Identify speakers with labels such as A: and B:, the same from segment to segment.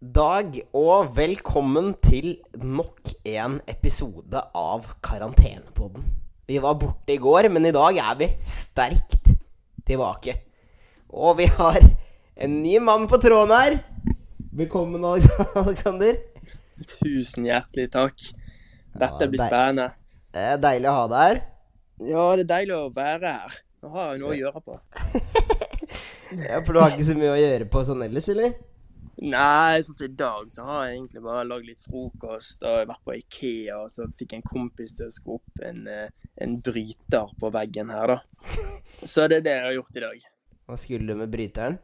A: dag, og velkommen til nok en episode av Karantenepodden. Vi var borte i går, men i dag er vi sterkt tilbake. Og vi har en ny mann på tråden her. Velkommen, Aleks- Aleksander.
B: Tusen hjertelig takk.
A: Ja,
B: Dette blir
A: dei-
B: spennende.
A: Eh, Deilig å ha deg her.
B: Ja, det er deilig å være her. Nå har jeg noe å gjøre på.
A: Ja, For du har ikke så mye å gjøre på sånn ellers, eller?
B: Nei, sånn som i dag, så har jeg egentlig bare lagd litt frokost og vært på Ikea, og så fikk en kompis til å skru opp en, eh, en bryter på veggen her, da. Så det er det jeg har gjort i dag.
A: Hva skulle du med bryteren?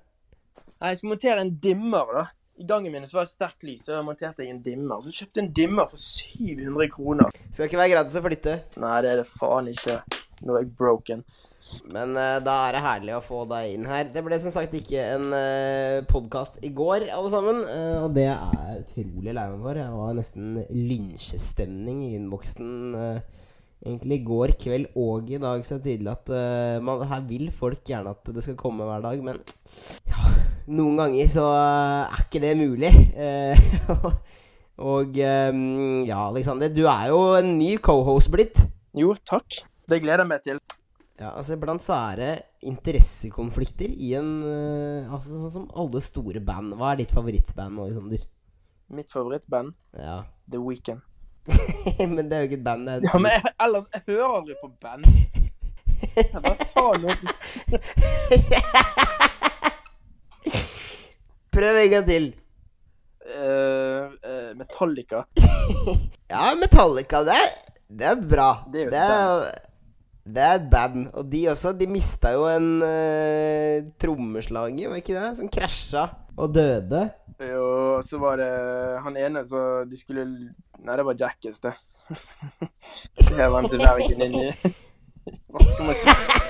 B: Nei, Jeg skal montere en dimmer, da. I gangen min så var det sterkt lys, så monterte jeg en dimmer. Så kjøpte jeg en dimmer for 700 kroner.
A: Skal ikke være gratis å flytte.
B: Nei, det er det faen ikke. Nå er jeg broken.
A: Men eh, da er det herlig å få deg inn her. Det ble som sagt ikke en uh, podkast i går, alle sammen. eh, og det er jeg utrolig lei meg for. Jeg var nesten lynsjestemning i innboksen eh, egentlig i går kveld og i dag, så er det tydelig at eh, man, her vil folk gjerne at det skal komme hver dag, men ja, noen ganger så eh, er ikke det mulig. Eh, og eh, ja, Aleksander, du er jo en ny cohost blitt.
B: Jo, takk. Det gleder jeg meg til.
A: Ja, altså Iblant så er det interessekonflikter i en eh, Altså Sånn som alle store band. Hva er ditt favorittband, Alexander?
B: Mitt favorittband,
A: Ja.
B: The Weeknd.
A: men det er jo ikke et band. Det er
B: Ja, men jeg, ellers, jeg hører aldri på band. Jeg bare sa noe som-
A: Prøv en gang til.
B: Eh, eh, Metallica.
A: Ja, Metallica, det er, det er bra.
B: Det er jo et
A: det er et band. Og de også. De mista jo en uh, trommeslager, var ikke det? Som krasja og døde.
B: Og så var det han ene så de skulle Nei, det var Jackass, det. Jeg vant til verken inn i Hva skal man si?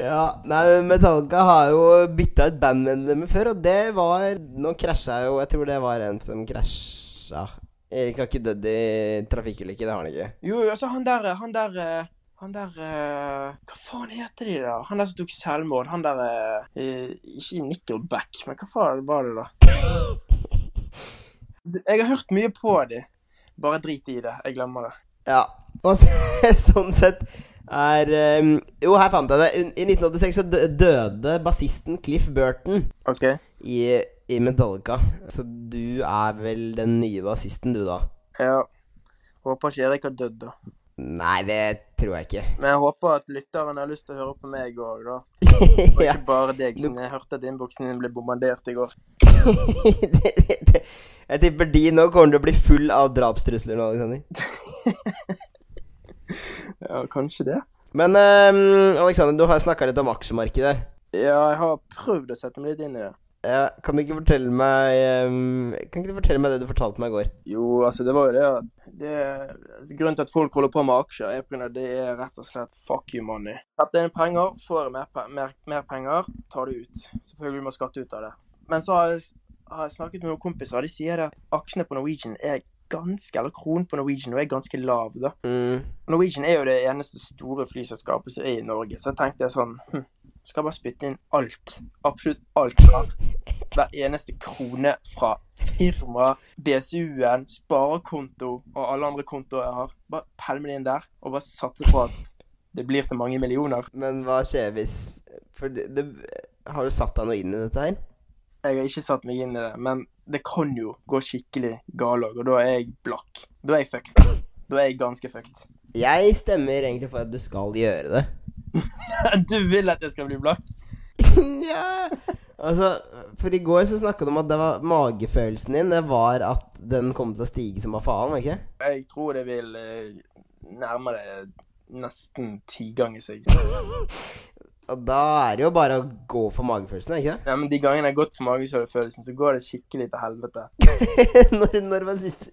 A: Ja, nei, men Metallica har jo bytta ut bandmedlemmer før, og det var Nå krasja jo Jeg tror det var en som krasja Erik har ikke dødd i trafikkulykke, det har han ikke.
B: Jo, altså han der Han der eh, han der eh, Hva faen heter de, da? Han der som tok selvmord. Han der eh, eh, Ikke i Nickelback, men hva faen var det, da? Jeg har hørt mye på de. Bare drit i det. Jeg glemmer det.
A: Ja, og så- sånn sett er eh, Jo, her fant jeg det. I 1986 så dø- døde bassisten Cliff Burton
B: OK.
A: i, i Metallica. Så du er vel den nye bassisten, du, da?
B: Ja. Håper ikke Erik har dødd, da.
A: Nei, det tror jeg ikke.
B: Men jeg håper at lytteren har lyst til å høre på meg òg, da. Og
A: ja.
B: ikke bare deg, siden jeg hørte at innboksen din ble bombardert i går.
A: det, det, det. Jeg tipper de nå kommer til å bli full av drapstrusler nå, Alexander.
B: Ja, kanskje det.
A: Men ehm, Alexander, du har snakka litt om aksjemarkedet.
B: Ja, jeg har prøvd å sette meg litt inn i det.
A: Ja, kan du ikke fortelle meg ehm, Kan ikke du fortelle meg det du fortalte meg i går?
B: Jo, altså, det var jo det at det, altså, Grunnen til at folk holder på med aksjer, er på grunn av at det er rett og slett fuck you money. Sett inn penger, får mer, pe- mer, mer penger, tar det ut. Selvfølgelig må skatte ut av det. Men så har jeg, har jeg snakket med noen kompiser, og de sier det at aksjene på Norwegian er ganske, eller kronen på Norwegian nå er ganske lav, da.
A: Mm.
B: Norwegian er jo det eneste store flyselskapet som er i Norge, så jeg tenkte jeg sånn hm, Skal jeg bare spytte inn alt. Absolutt alt her. Hver eneste krone fra firma, BSU-en, sparekonto og alle andre kontoer jeg har. Bare pælme det inn der, og bare satse på at det blir til mange millioner.
A: Men hva skjer hvis For det, det, har du satt deg noe inn i dette her?
B: Jeg har ikke satt meg inn i det, men det kan jo gå skikkelig galog, og da er jeg blakk. Da er jeg fucked. Da er jeg ganske fucked.
A: Jeg stemmer egentlig for at du skal gjøre det.
B: Du vil at jeg skal bli blakk?
A: ja. Altså, for i går så snakka du om at det var magefølelsen din. Det var at den kom til å stige som bare faen, var det ikke?
B: Jeg tror det vil eh, nærme det nesten ti ganger seg.
A: Og da er det jo bare å gå for magefølelsen, er det ikke det?
B: Ja, men De gangene jeg har gått for magefølelsen, så går det skikkelig til helvete.
A: når, når, var sist,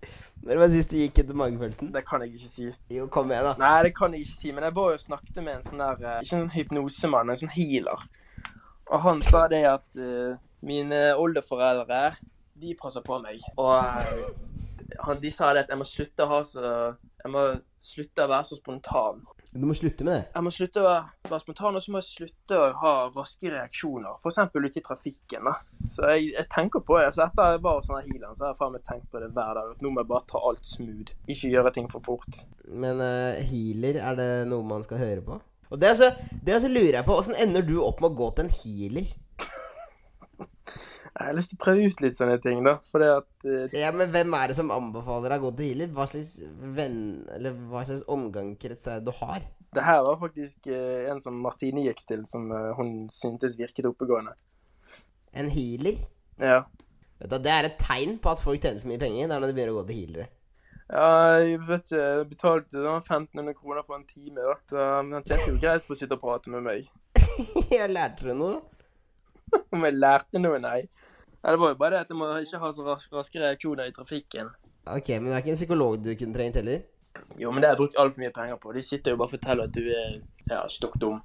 A: når var sist du gikk etter magefølelsen?
B: Det kan jeg ikke si.
A: Jo, kom igjen, da.
B: Nei, det kan jeg ikke si, men jeg var jo og snakket med en sånn der eh, Ikke en sånn hypnosemann, men en sånn healer. Og han sa det at eh, mine oldeforeldre, de passer på meg. Og eh, han, de sa det at jeg må slutte å ha så Jeg må slutte å være så spontan.
A: Du må slutte med det.
B: Jeg må slutte å være- være spontan, og så må jeg slutte å ha raske reaksjoner. F.eks. ute i trafikken. da. Så jeg, jeg tenker på det. Så etter jeg var sånn her healer, så har jeg faen meg tenkt på det hver dag. at Nå må jeg bare ta alt smooth. Ikke gjøre ting for fort.
A: Men eh, healer, er det noe man skal høre på? Og det er så, det er så lurer jeg på, åssen ender du opp med å gå til en healer?
B: Jeg har lyst til å prøve ut litt sånne ting, da. For det at eh,
A: Ja, men hvem er det som anbefaler deg å gå til healer? Hva slags venn, eller hva slags omgangskrets er det du har?
B: det her var faktisk eh, en som Martine gikk til, som eh, hun syntes virket oppegående.
A: En healer?
B: Ja.
A: Vet du, Det er et tegn på at folk tjener for mye penger. Det er når de begynner å gå til healere.
B: Ja, jeg vet ikke, jeg betalte da 1500 kroner for en time, da. Så han tjente jo greit på å sitte og prate med meg.
A: jeg lærte deg noe.
B: Om jeg lærte noe, nei. Ja, det var jo bare det at jeg må ikke ha så ras raske reaksjoner i trafikken.
A: Ok, men det er ikke en psykolog du kunne trengt heller?
B: Jo, men det har jeg brukt altfor mye penger på. De sitter jo bare og forteller at du er ja, stokk dum.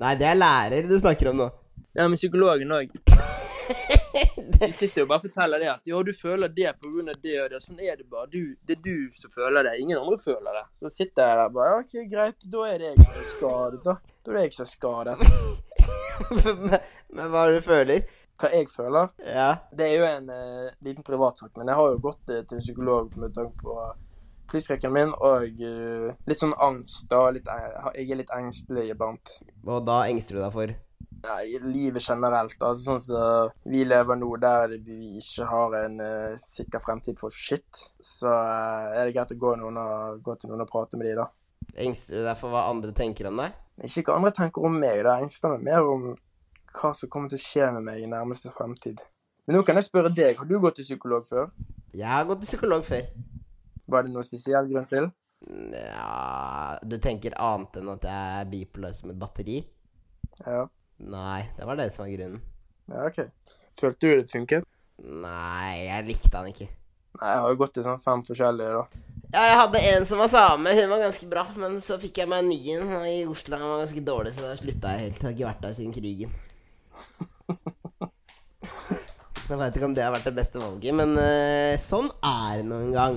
A: Nei, det er lærer du snakker om nå.
B: Ja, men psykologen òg. De sitter jo bare og forteller det at ja, du føler det pga. det og det. Sånn er det bare. Du, det er du som føler det. Ingen andre føler det. Så sitter jeg der bare ja, OK, greit. Da er det jeg som er skadet, da. Da er det jeg som er skadet.
A: men, men hva er det du føler?
B: Hva jeg føler?
A: Ja.
B: Det er jo en eh, liten privatsak, men jeg har jo gått eh, til en psykolog med tanke på flyskrekken min og eh, litt sånn angst. da, litt, eh, Jeg er litt engstelig iblant.
A: Og da engster du deg for
B: Nei, livet generelt. altså Sånn som vi lever nå, der vi ikke har en eh, sikker fremtid for shit, så eh, er det greit å gå, noen og, gå til noen og prate med de da.
A: Engster du deg for hva andre tenker om deg?
B: Ikke hva andre tenker om meg, det engster meg mer om hva som kommer til å skje med meg i nærmeste fremtid. Men nå kan jeg spørre deg, har du gått til psykolog før?
A: Jeg har gått til psykolog før.
B: Var det noen spesiell grunn til?
A: Nja Du tenker annet enn at jeg er bipolar som et batteri?
B: Ja.
A: Nei, det var det som var grunnen.
B: Ja, ok. Følte du det funket?
A: Nei, jeg likte han ikke.
B: Nei, jeg har jo gått til sånn fem forskjellige, da.
A: Ja, jeg hadde en som var same, hun var ganske bra, men så fikk jeg meg en ny en og i Oslo. Han var ganske dårlig, så da slutta jeg helt. Jeg har ikke vært der siden krigen. Jeg veit ikke om det har vært det beste valget, men eh, sånn er det noen gang.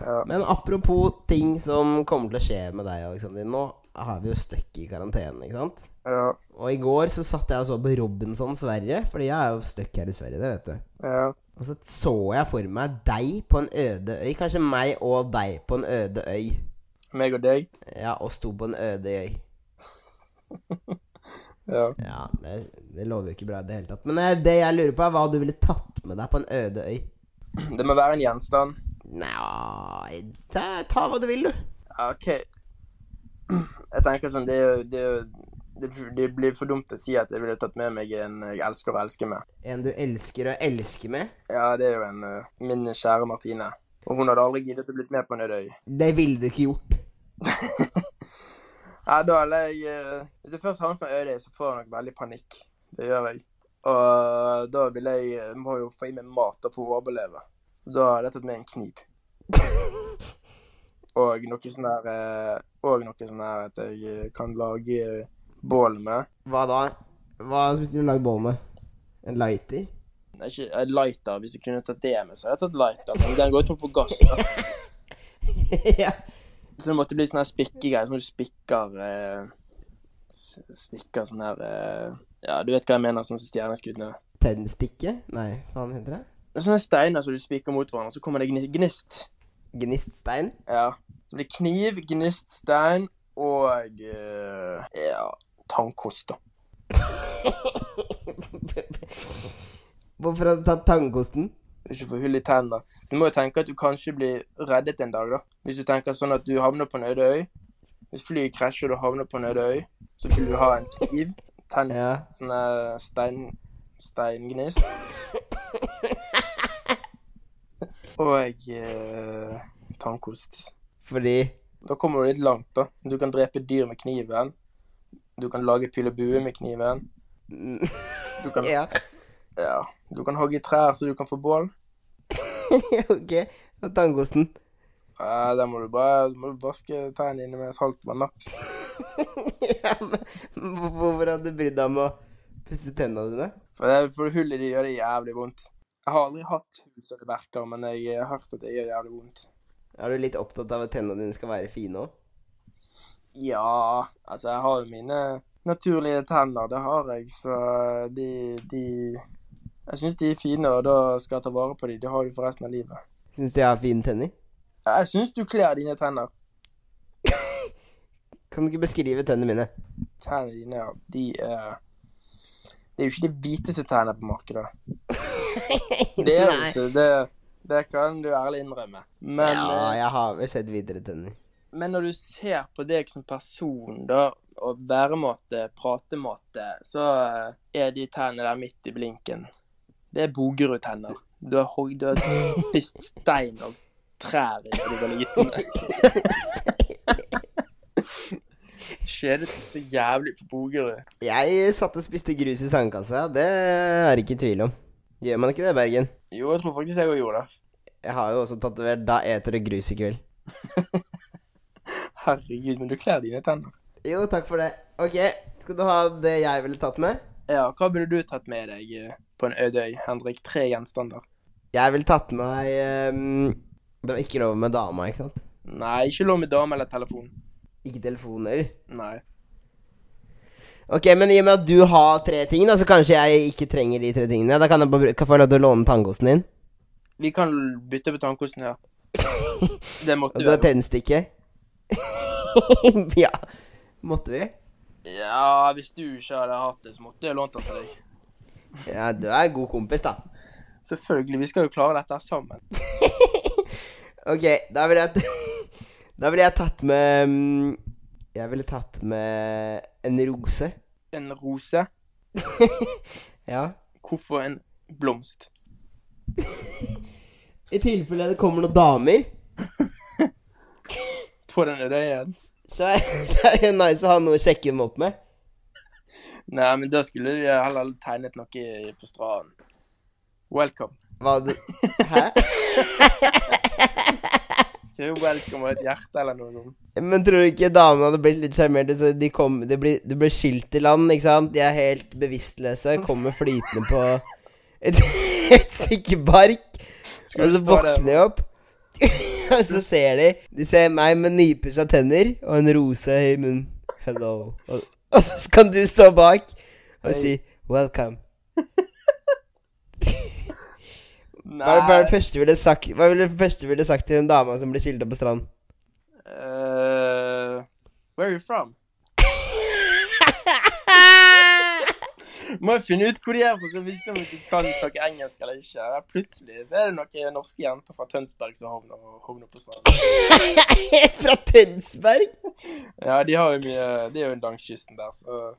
B: Ja.
A: Men apropos ting som kommer til å skje med deg, Alexander. Nå har vi jo støkk i karantene, ikke sant?
B: Ja,
A: Og i går så satt jeg og så på Robinson Sverige, fordi jeg er jo støkk her i Sverige, det vet du.
B: ja.
A: Og så så jeg for meg deg på en øde øy. Kanskje meg og deg på en øde øy.
B: Meg og deg?
A: Ja, og sto på en øde øy.
B: Ja.
A: Ja, det, det lover jo ikke bra i det hele tatt. Men eh, det jeg lurer på, er hva du ville tatt med deg på en øde øy.
B: Det må være en gjenstand.
A: Nei, ta, ta hva du vil, du.
B: Ja, OK. Jeg tenker sånn, det er jo det, er jo- det, det blir for dumt å si at jeg ville tatt med meg en eh, jeg elsker å elske med.
A: En du elsker og elsker med.
B: Ja, det er jo en eh, min kjære Martine. Og hun hadde aldri giddet å blitt med på en øde øy.
A: Det ville du ikke gjort.
B: Nei, da hadde jeg eh, Hvis jeg først havner på en øde øy, så får jeg nok veldig panikk. Det gjør jeg. Og da vil jeg jeg Må jo få i meg mat da for å overleve. Da hadde jeg tatt med en kniv. og noe sånn her eh, Og noe sånn her at jeg eh, kan lage eh, bål med.
A: Hva da? Hva skulle du lagd bål med? En lighter?
B: Nei, Ikke eh, lighter, hvis jeg kunne tatt det med, så hadde jeg tatt lighter. Men den går jo tom for gass. Da.
A: ja.
B: Så det måtte bli sånn her spikkegreier, sånn at du spikker eh, s- Spikker sånn her eh, Ja, du vet hva jeg mener, sånn som stjerneskuddene.
A: Tennstikke? Nei, faen heter det?
B: Det er sånne steiner som du spiker mot hverandre, så kommer det gni- gnist.
A: Gniststein?
B: Ja. Så blir det kniv, gnist, stein og eh, ja, tannkost, da.
A: Hvorfor har du tatt tannkosten?
B: Ikke få hull i tennene. Så du må jo tenke at du kanskje blir reddet en dag, da. Hvis du tenker sånn at du havner på en øde øy. Hvis flyet krasjer og du havner på en øde øy, så vil du ha en kniv, tenn,
A: Ja.
B: sånne stein, steingnist. og eh, tannkost.
A: Fordi
B: Da kommer du litt langt, da. Du kan drepe dyr med kniven. Du kan lage pil og bue med kniven. Du kan,
A: Ja,
B: ja, du kan hogge i trær så du kan få bål.
A: ok. Og tannkosten.
B: Ja, der må du bare du må du vaske tærne dine med saltvann, da.
A: ja, men hvor- hvorfor hadde du brydd deg om å pusse tennene dine?
B: For det for hullet de gjør det jævlig vondt. Jeg har aldri hatt hull som det verker, men jeg har hørt at det gjør jævlig vondt.
A: Er du litt opptatt av at tennene dine skal være fine òg?
B: Ja, altså jeg har jo mine naturlige tenner, det har jeg, så de, de Jeg syns de er fine, og da skal jeg ta vare på de. Det har du for resten av livet.
A: Syns du jeg har fine tenner?
B: Jeg syns du kler dine tenner.
A: Kan du ikke beskrive tennene mine?
B: Tennene dine, ja, de er Det er jo ikke de hviteste tennene på markedet. Det er jo
A: Nei.
B: ikke det. Det kan du ærlig innrømme. Men,
A: ja,
B: eh,
A: jeg har vel sett videre tenner.
B: men når du ser på deg som person, da, og væremåte, pratemåte, så eh, er de tennene der midt i blinken. Det er Bogerud-tenner. Du har hogd du har spist stein og trær i da du var liten. Skjedet så jævlig på Bogerud.
A: Jeg satt og spiste grus i sandkassa, det er det ikke tvil om. Gjør man ikke det, Bergen?
B: Jo, jeg tror faktisk jeg òg gjorde det.
A: Jeg har jo også tatovert 'Da eter du grus i kveld'.
B: Herregud, men du kler dine tenner.
A: Jo, takk for det. Ok, skal du ha det jeg ville tatt med?
B: Ja, hva ville du tatt med deg eh, på en øde øy, Henrik? Tre gjenstander.
A: Jeg ville tatt med meg ehm, Det var ikke lov med dama, ikke sant?
B: Nei, ikke lov med dame eller telefon.
A: Ikke telefoner.
B: Nei.
A: Ok, men i og med at du har tre ting, da, så kanskje jeg ikke trenger de tre tingene. Da kan jeg bare, kan jeg få lov til å låne tannkosten din.
B: Vi kan l- bytte på tannkosten her. Det måtte
A: Og
B: vi
A: du
B: ha
A: har
B: gjort.
A: tennstikke. ja. Måtte vi?
B: Ja, hvis du ikke hadde hatt det, så måtte jeg lånt den til deg.
A: Ja, du er en god kompis, da.
B: Selvfølgelig, vi skal jo klare dette her sammen.
A: Ok, da ville jeg Da ville jeg tatt med mm, Jeg ville tatt med en rose.
B: En rose.
A: Ja.
B: Hvorfor en blomst?
A: I tilfelle det kommer noen damer,
B: På den øde øyen?
A: så er, så er det nice å ha noe å sjekke dem opp med.
B: Nei, men da skulle vi heller tegnet noe i- på stranden. Welcome.
A: Hva du Hæ?
B: Skriv 'welcome' og et hjerte eller noe sånt.
A: Men tror du ikke damene hadde blitt litt sjarmerte? så De kom, det blir, det blir skilt til land, ikke sant? De er helt bevisstløse, kommer flytende på et, et stykke bark.
B: Skulle
A: Og så
B: du ta det-
A: våkner de opp, og så ser de De ser meg med nypussa tenner og en rose i munnen. Hello. Og, og så kan du stå bak og si welcome. Hva er det- hva er det
B: Nei.
A: første du ville sagt, hva ville det første du ville sagt til en dame som blir skilta på stranden?
B: eh, where are you from? Må jeg finne ut hvor de er fra, så visste jeg om de kan snakke engelsk eller ikke. Ja, Plutselig så er det noen norske jenter fra Tønsberg som havner, havner på stranden.
A: Fra Tønsberg?
B: Ja, de har jo mye De er jo langs kysten der, så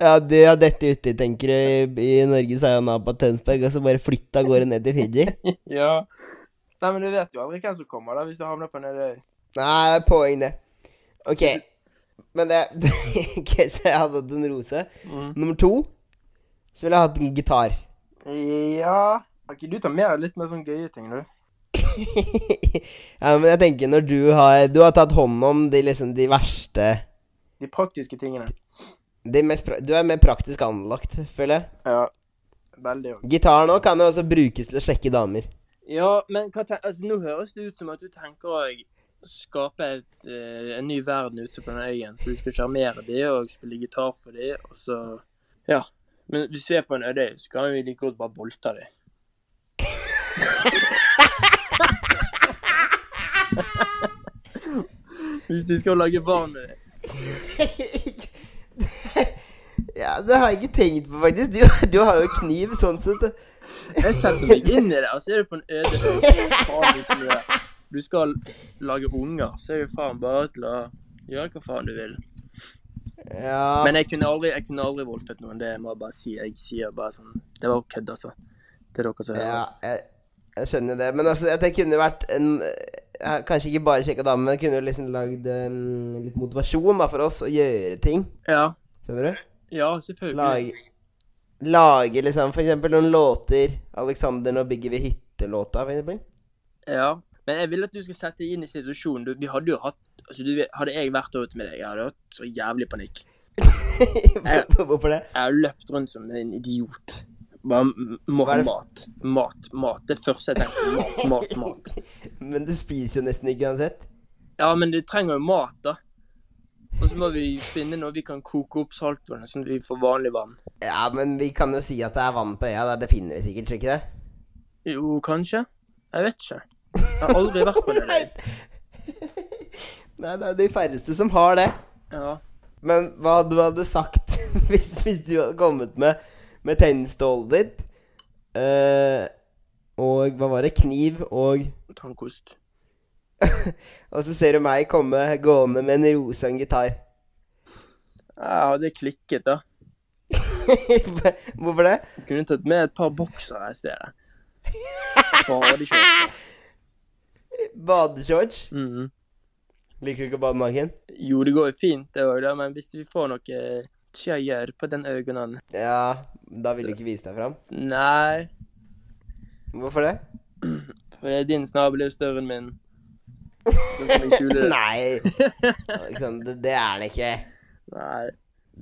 A: Ja, du har dette uti, tenker du. I i Norge sa jeg Napa Tønsberg, og så bare flytta av gårde ned til Fiji.
B: Ja. Nei, men du vet jo aldri hvem som kommer, da, hvis du havner på en øde øy.
A: Nei, det er poeng, det. OK. Men det Ok, Så jeg hadde hatt en rose.
B: Mm.
A: Nummer to så ville jeg hatt en gitar.
B: Ja OK, du tar med deg litt mer sånn gøye ting, du.
A: ja, men jeg tenker når du har Du har tatt hånd om de liksom de verste
B: De praktiske tingene.
A: de mest pra Du er mer praktisk anlagt, føler jeg.
B: Ja. Veldig òg.
A: Gitar nå kan jo også brukes til å sjekke damer.
B: Ja, men hva ten altså, nå høres det ut som at du tenker å skape et, eh, en ny verden ute på den øyen. For du skal sjarmere de og spille gitar for de, og så Ja. Men hvis vi er på en øde øy, så kan vi like godt bare voldta de. Hvis de skal lage barn med deg.
A: ja, det har jeg ikke tenkt på, faktisk. Du, du har jo kniv, sånn sett.
B: Jeg setter meg inn i det, og så er du på en øde øy. Faen, du skal gjøre- Du skal lage unger, så er du faen bare til å gjøre hva faen du vil.
A: Ja,
B: Men jeg kunne aldri, jeg kunne aldri voldtatt noen, det må jeg bare si. Jeg sier bare sånn Det var kødd, altså. Til dere som hører.
A: ja jeg, jeg skjønner det. Men altså, at det kunne vært en jeg har Kanskje ikke bare sjekka damer, men jeg kunne jo liksom lagd em, litt motivasjon da, for oss å gjøre ting.
B: Ja.
A: Skjønner du?
B: Ja, selvfølgelig.
A: Lage, lage liksom for eksempel noen låter. 'Alexander, nå bygger vi hytte'-låta, for eksempel.
B: Ja. Men jeg vil at du skal sette deg inn i situasjonen. Du, vi hadde jo hatt altså, du, vet- Hadde jeg vært der ute med deg, jeg hadde hatt så jævlig panikk.
A: Hvor- Hvorfor det?
B: Jeg hadde løpt rundt som en idiot. Bare m- må
A: Hva er
B: ha
A: det-
B: mat. Mat, mat. Det første jeg tenker. Mat, mat, mat.
A: Men du spiser jo nesten ikke uansett.
B: Ja, men du trenger jo mat, da. Og så må vi finne noe vi kan koke opp saltvannet, sånn at vi får vanlig vann.
A: Ja, men vi kan jo si at det er vann på øya. da. Det finner vi sikkert, tror du ikke det?
B: Jo, kanskje? Jeg vet ikke. Jeg har aldri vært på det. der.
A: Nei, det er de færreste som har det.
B: Ja.
A: Men hva du hadde sagt hvis, hvis du hadde kommet med, med tennstålet ditt eh, Og hva var det? Kniv og
B: Tannkost.
A: Og så ser du meg komme gående med en rosa gitar.
B: Jeg hadde klikket, da.
A: Hvorfor det?
B: Jeg kunne tatt med et par boksere i stedet. Badekjortler.
A: Badeshorts.
B: Mm.
A: Liker du ikke å bade naken?
B: Jo, det går jo fint, det òg, da, men hvis vi får noe skjeer på den øynene
A: Ja, da vil du ikke vise deg fram.
B: Nei,
A: Hvorfor det?
B: for din snabel er jo større enn min. Da kan jeg skjule det.
A: Nei, Alexander, det, det er det ikke.
B: Nei.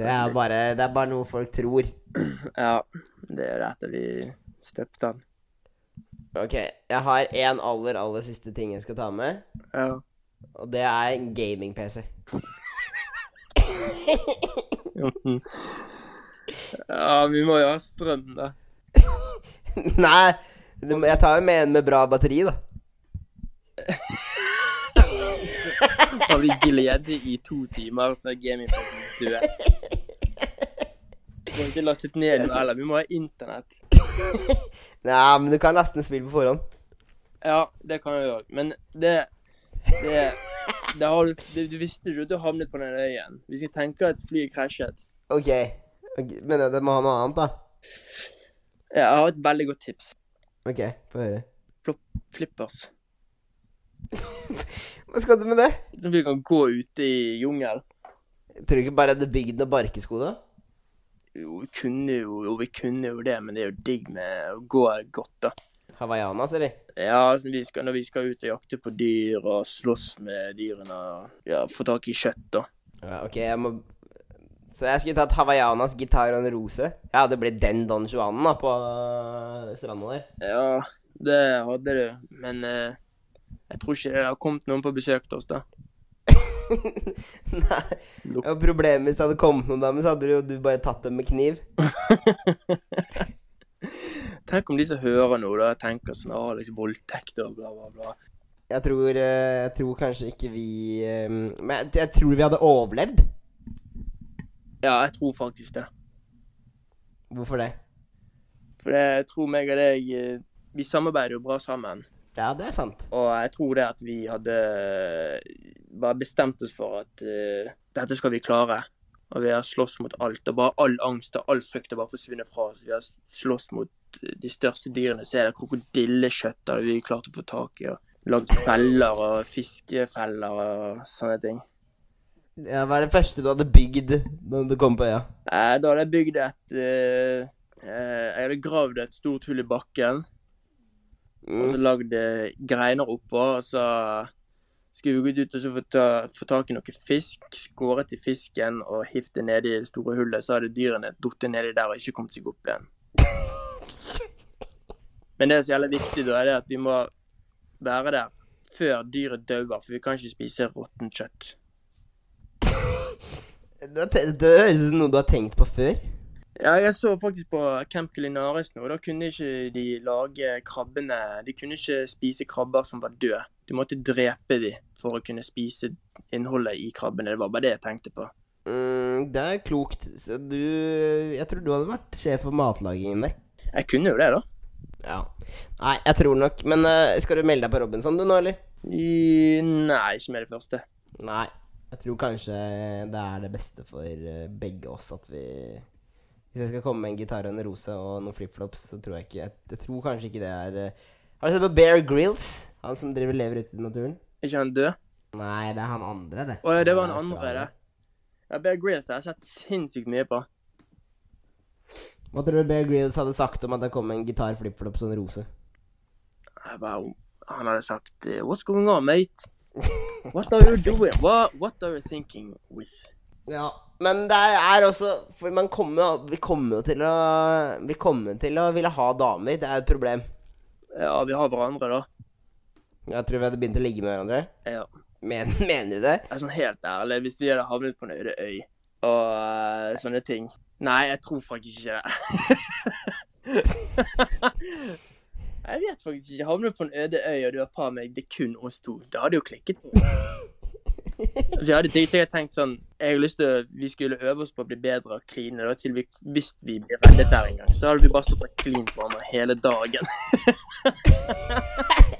A: Det er, bare, det er bare noe folk tror.
B: Ja, det er jo dette vi støpte den.
A: Ok, jeg har en aller, aller siste ting jeg skal ta med.
B: Ja.
A: Og det er en gaming-PC.
B: ja, vi må jo ha strøm, da.
A: Nei, du, må- jeg tar jo med en med bra batteri, da.
B: Har vi glede i to timer, så er gamingplassen død. Vi kan ikke laste ned noe heller. Vi må ha internett.
A: Nei, men du kan laste ned spill på forhånd.
B: Ja, det kan jeg òg. Men det det, det har du, du, du visste jo at du havnet på den øyen. Vi skal tenke at flyet krasjet.
A: Ok, ok, men det må ha noe annet, da.
B: Ja, Jeg har et veldig godt tips.
A: Ok, få høre.
B: Flippers.
A: Hva skal du med det?
B: Sånn at vi kan gå ute i jungelen.
A: Tror du ikke bare jeg hadde bygd noen barkesko, da?
B: Jo, vi kunne jo, jo, vi kunne jo det, men det er jo digg med å gå godt, da.
A: Hawaiianas, eller?
B: Ja, sånn vi skal, når vi skal ut og jakte på dyr og slåss med dyrene og ja, få tak i kjøtt, da.
A: Ja, ok, jeg må Så jeg skulle tatt Hawaiianas, gitar og en rose. Jeg hadde blitt den Don Juanen da, på øh, stranda der.
B: Ja, det hadde du, men eh, jeg tror ikke det har kommet noen på besøk til oss, da.
A: Nei. Og problemet hvis det hadde kommet noen damer, så hadde du jo du bare tatt dem med kniv.
B: Tenk om de som hører nå, da, tenker sånn ah, liksom voldtekt og bla, bla, bla.
A: Jeg tror, eh, jeg tror kanskje ikke vi eh, Men jeg, jeg tror vi hadde overlevd.
B: Ja, jeg tror faktisk det.
A: Hvorfor det?
B: For det, jeg tror meg og deg eh, Vi samarbeider jo bra sammen.
A: Ja, det er sant.
B: Og jeg tror det at vi hadde bare bestemt oss for at eh, dette skal vi klare. Og vi har slåss mot alt. Og bare all angst og all frykt har bare forsvunnet fra oss. Vi har slåss mot eh, de største dyrene. Så er det krokodillekjøtt har vi klart å få tak i. Og lagd feller og fiskefeller og sånne ting.
A: Ja, hva er det første du hadde bygd når du kom på øya?
B: Eh, Da hadde jeg bygd et eh, eh, Jeg hadde gravd et stort hull i bakken. Og
A: Mm.
B: så lagd eh, greiner oppå, og så skulle vi gått ut og så få, ta, få tak i noe fisk. Skåret i fisken og hivd det nedi det store hullet. Så hadde dyrene falt nedi der og ikke kommet seg opp igjen. Men det som er så jævlig viktig, da, er det at vi må være der før dyret dauer. For vi kan ikke spise råttent kjøtt.
A: Det, det høres ut som noe du har tenkt på før.
B: Ja, jeg så faktisk på Camp Culinaris nå. Da kunne ikke de lage krabbene De kunne ikke spise krabber som var døde. Du måtte drepe de for å kunne spise innholdet i krabbene. Det var bare det jeg tenkte på.
A: Mm, det er klokt. Så du Jeg tror du hadde vært sjef for matlagingen der.
B: Jeg kunne jo det, da.
A: Ja. Nei, jeg tror nok Men eh, skal du melde deg på Robinson du nå, eller?
B: I, nei, ikke med det første.
A: Nei. Jeg tror kanskje det er det beste for eh, begge oss at vi Hvis jeg skal komme med en gitar og en rose og noen flipflops, så tror jeg ikke Jeg, jeg tror kanskje ikke det er eh, Har du sett på Bear Grills? Han som driver lever ute i naturen?
B: Er ikke han død?
A: Nei, det er han andre, det.
B: Å ja, det var han
A: Han er
B: andre, det.
A: australier.
B: Ja, Bear Grylls har jeg sett sinnssykt mye på.
A: Hva tror du Bear Grills hadde sagt om at det kom med en gitar, flipflops og en rose?
B: Jeg bare, han hadde sagt eh, What's going on, mate? What are you doing? What, what are you thinking with?
A: Ja, men det er også For man kommer, vi kommer jo til å Vi kommer til å ville ha damer. Det er et problem.
B: Ja, vi har hverandre, da.
A: Jeg tror vi hadde begynt å ligge med hverandre.
B: Ja.
A: Men, mener du det?
B: Jeg er sånn helt ærlig, hvis vi hadde havnet på en øde øy og eh, sånne ting Nei, jeg tror faktisk ikke det. jeg vet faktisk ikke. Havnet på en øde øy, og du har par meg, det er kun oss to. Da hadde jo klikket. Vi hadde de sikkert tenkt sånn Jeg har lyst til å- Vi skulle øve oss på å bli bedre og kline. Da, til vi, hvis vi blir reddet der en gang, så hadde vi bare stått og klint hverandre hele dagen.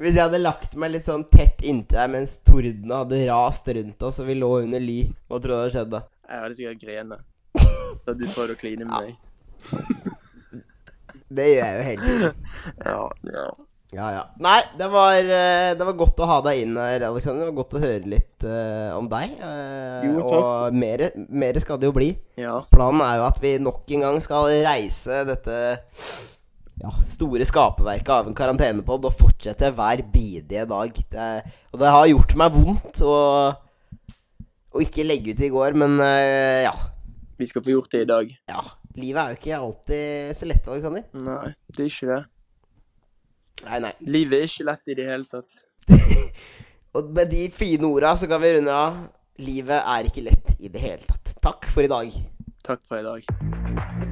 A: Hvis jeg hadde lagt meg litt sånn tett inntil deg mens tordene hadde rast rundt oss, og vi lå under ly, hva tror du hadde skjedd da?
B: Jeg hadde sikkert grene. Da du prøvde å kline med meg.
A: Det gjør jeg jo hele tiden.
B: Ja, ja.
A: Ja, ja. Nei, det var, eh, det var godt å ha deg inn her, Alexander. Det var godt å høre litt eh, om deg. eh,
B: Jo, takk.
A: og mer, mer skal det jo bli.
B: ja.
A: Planen er jo at vi nok en gang skal reise dette ja, store skaperverket av en karantenepod og fortsette hver bidige dag. Det, er- og det har gjort meg vondt å, å ikke legge ut i går, men eh, ja.
B: Vi skal få gjort det i dag.
A: ja. Livet er jo ikke alltid så lett, Alexander.
B: Nei, det er ikke det.
A: Nei, nei.
B: Livet er ikke lett i det hele tatt.
A: Og med de fine orda så kan vi runde av. Livet er ikke lett i det hele tatt. Takk for i dag.
B: Takk for i dag.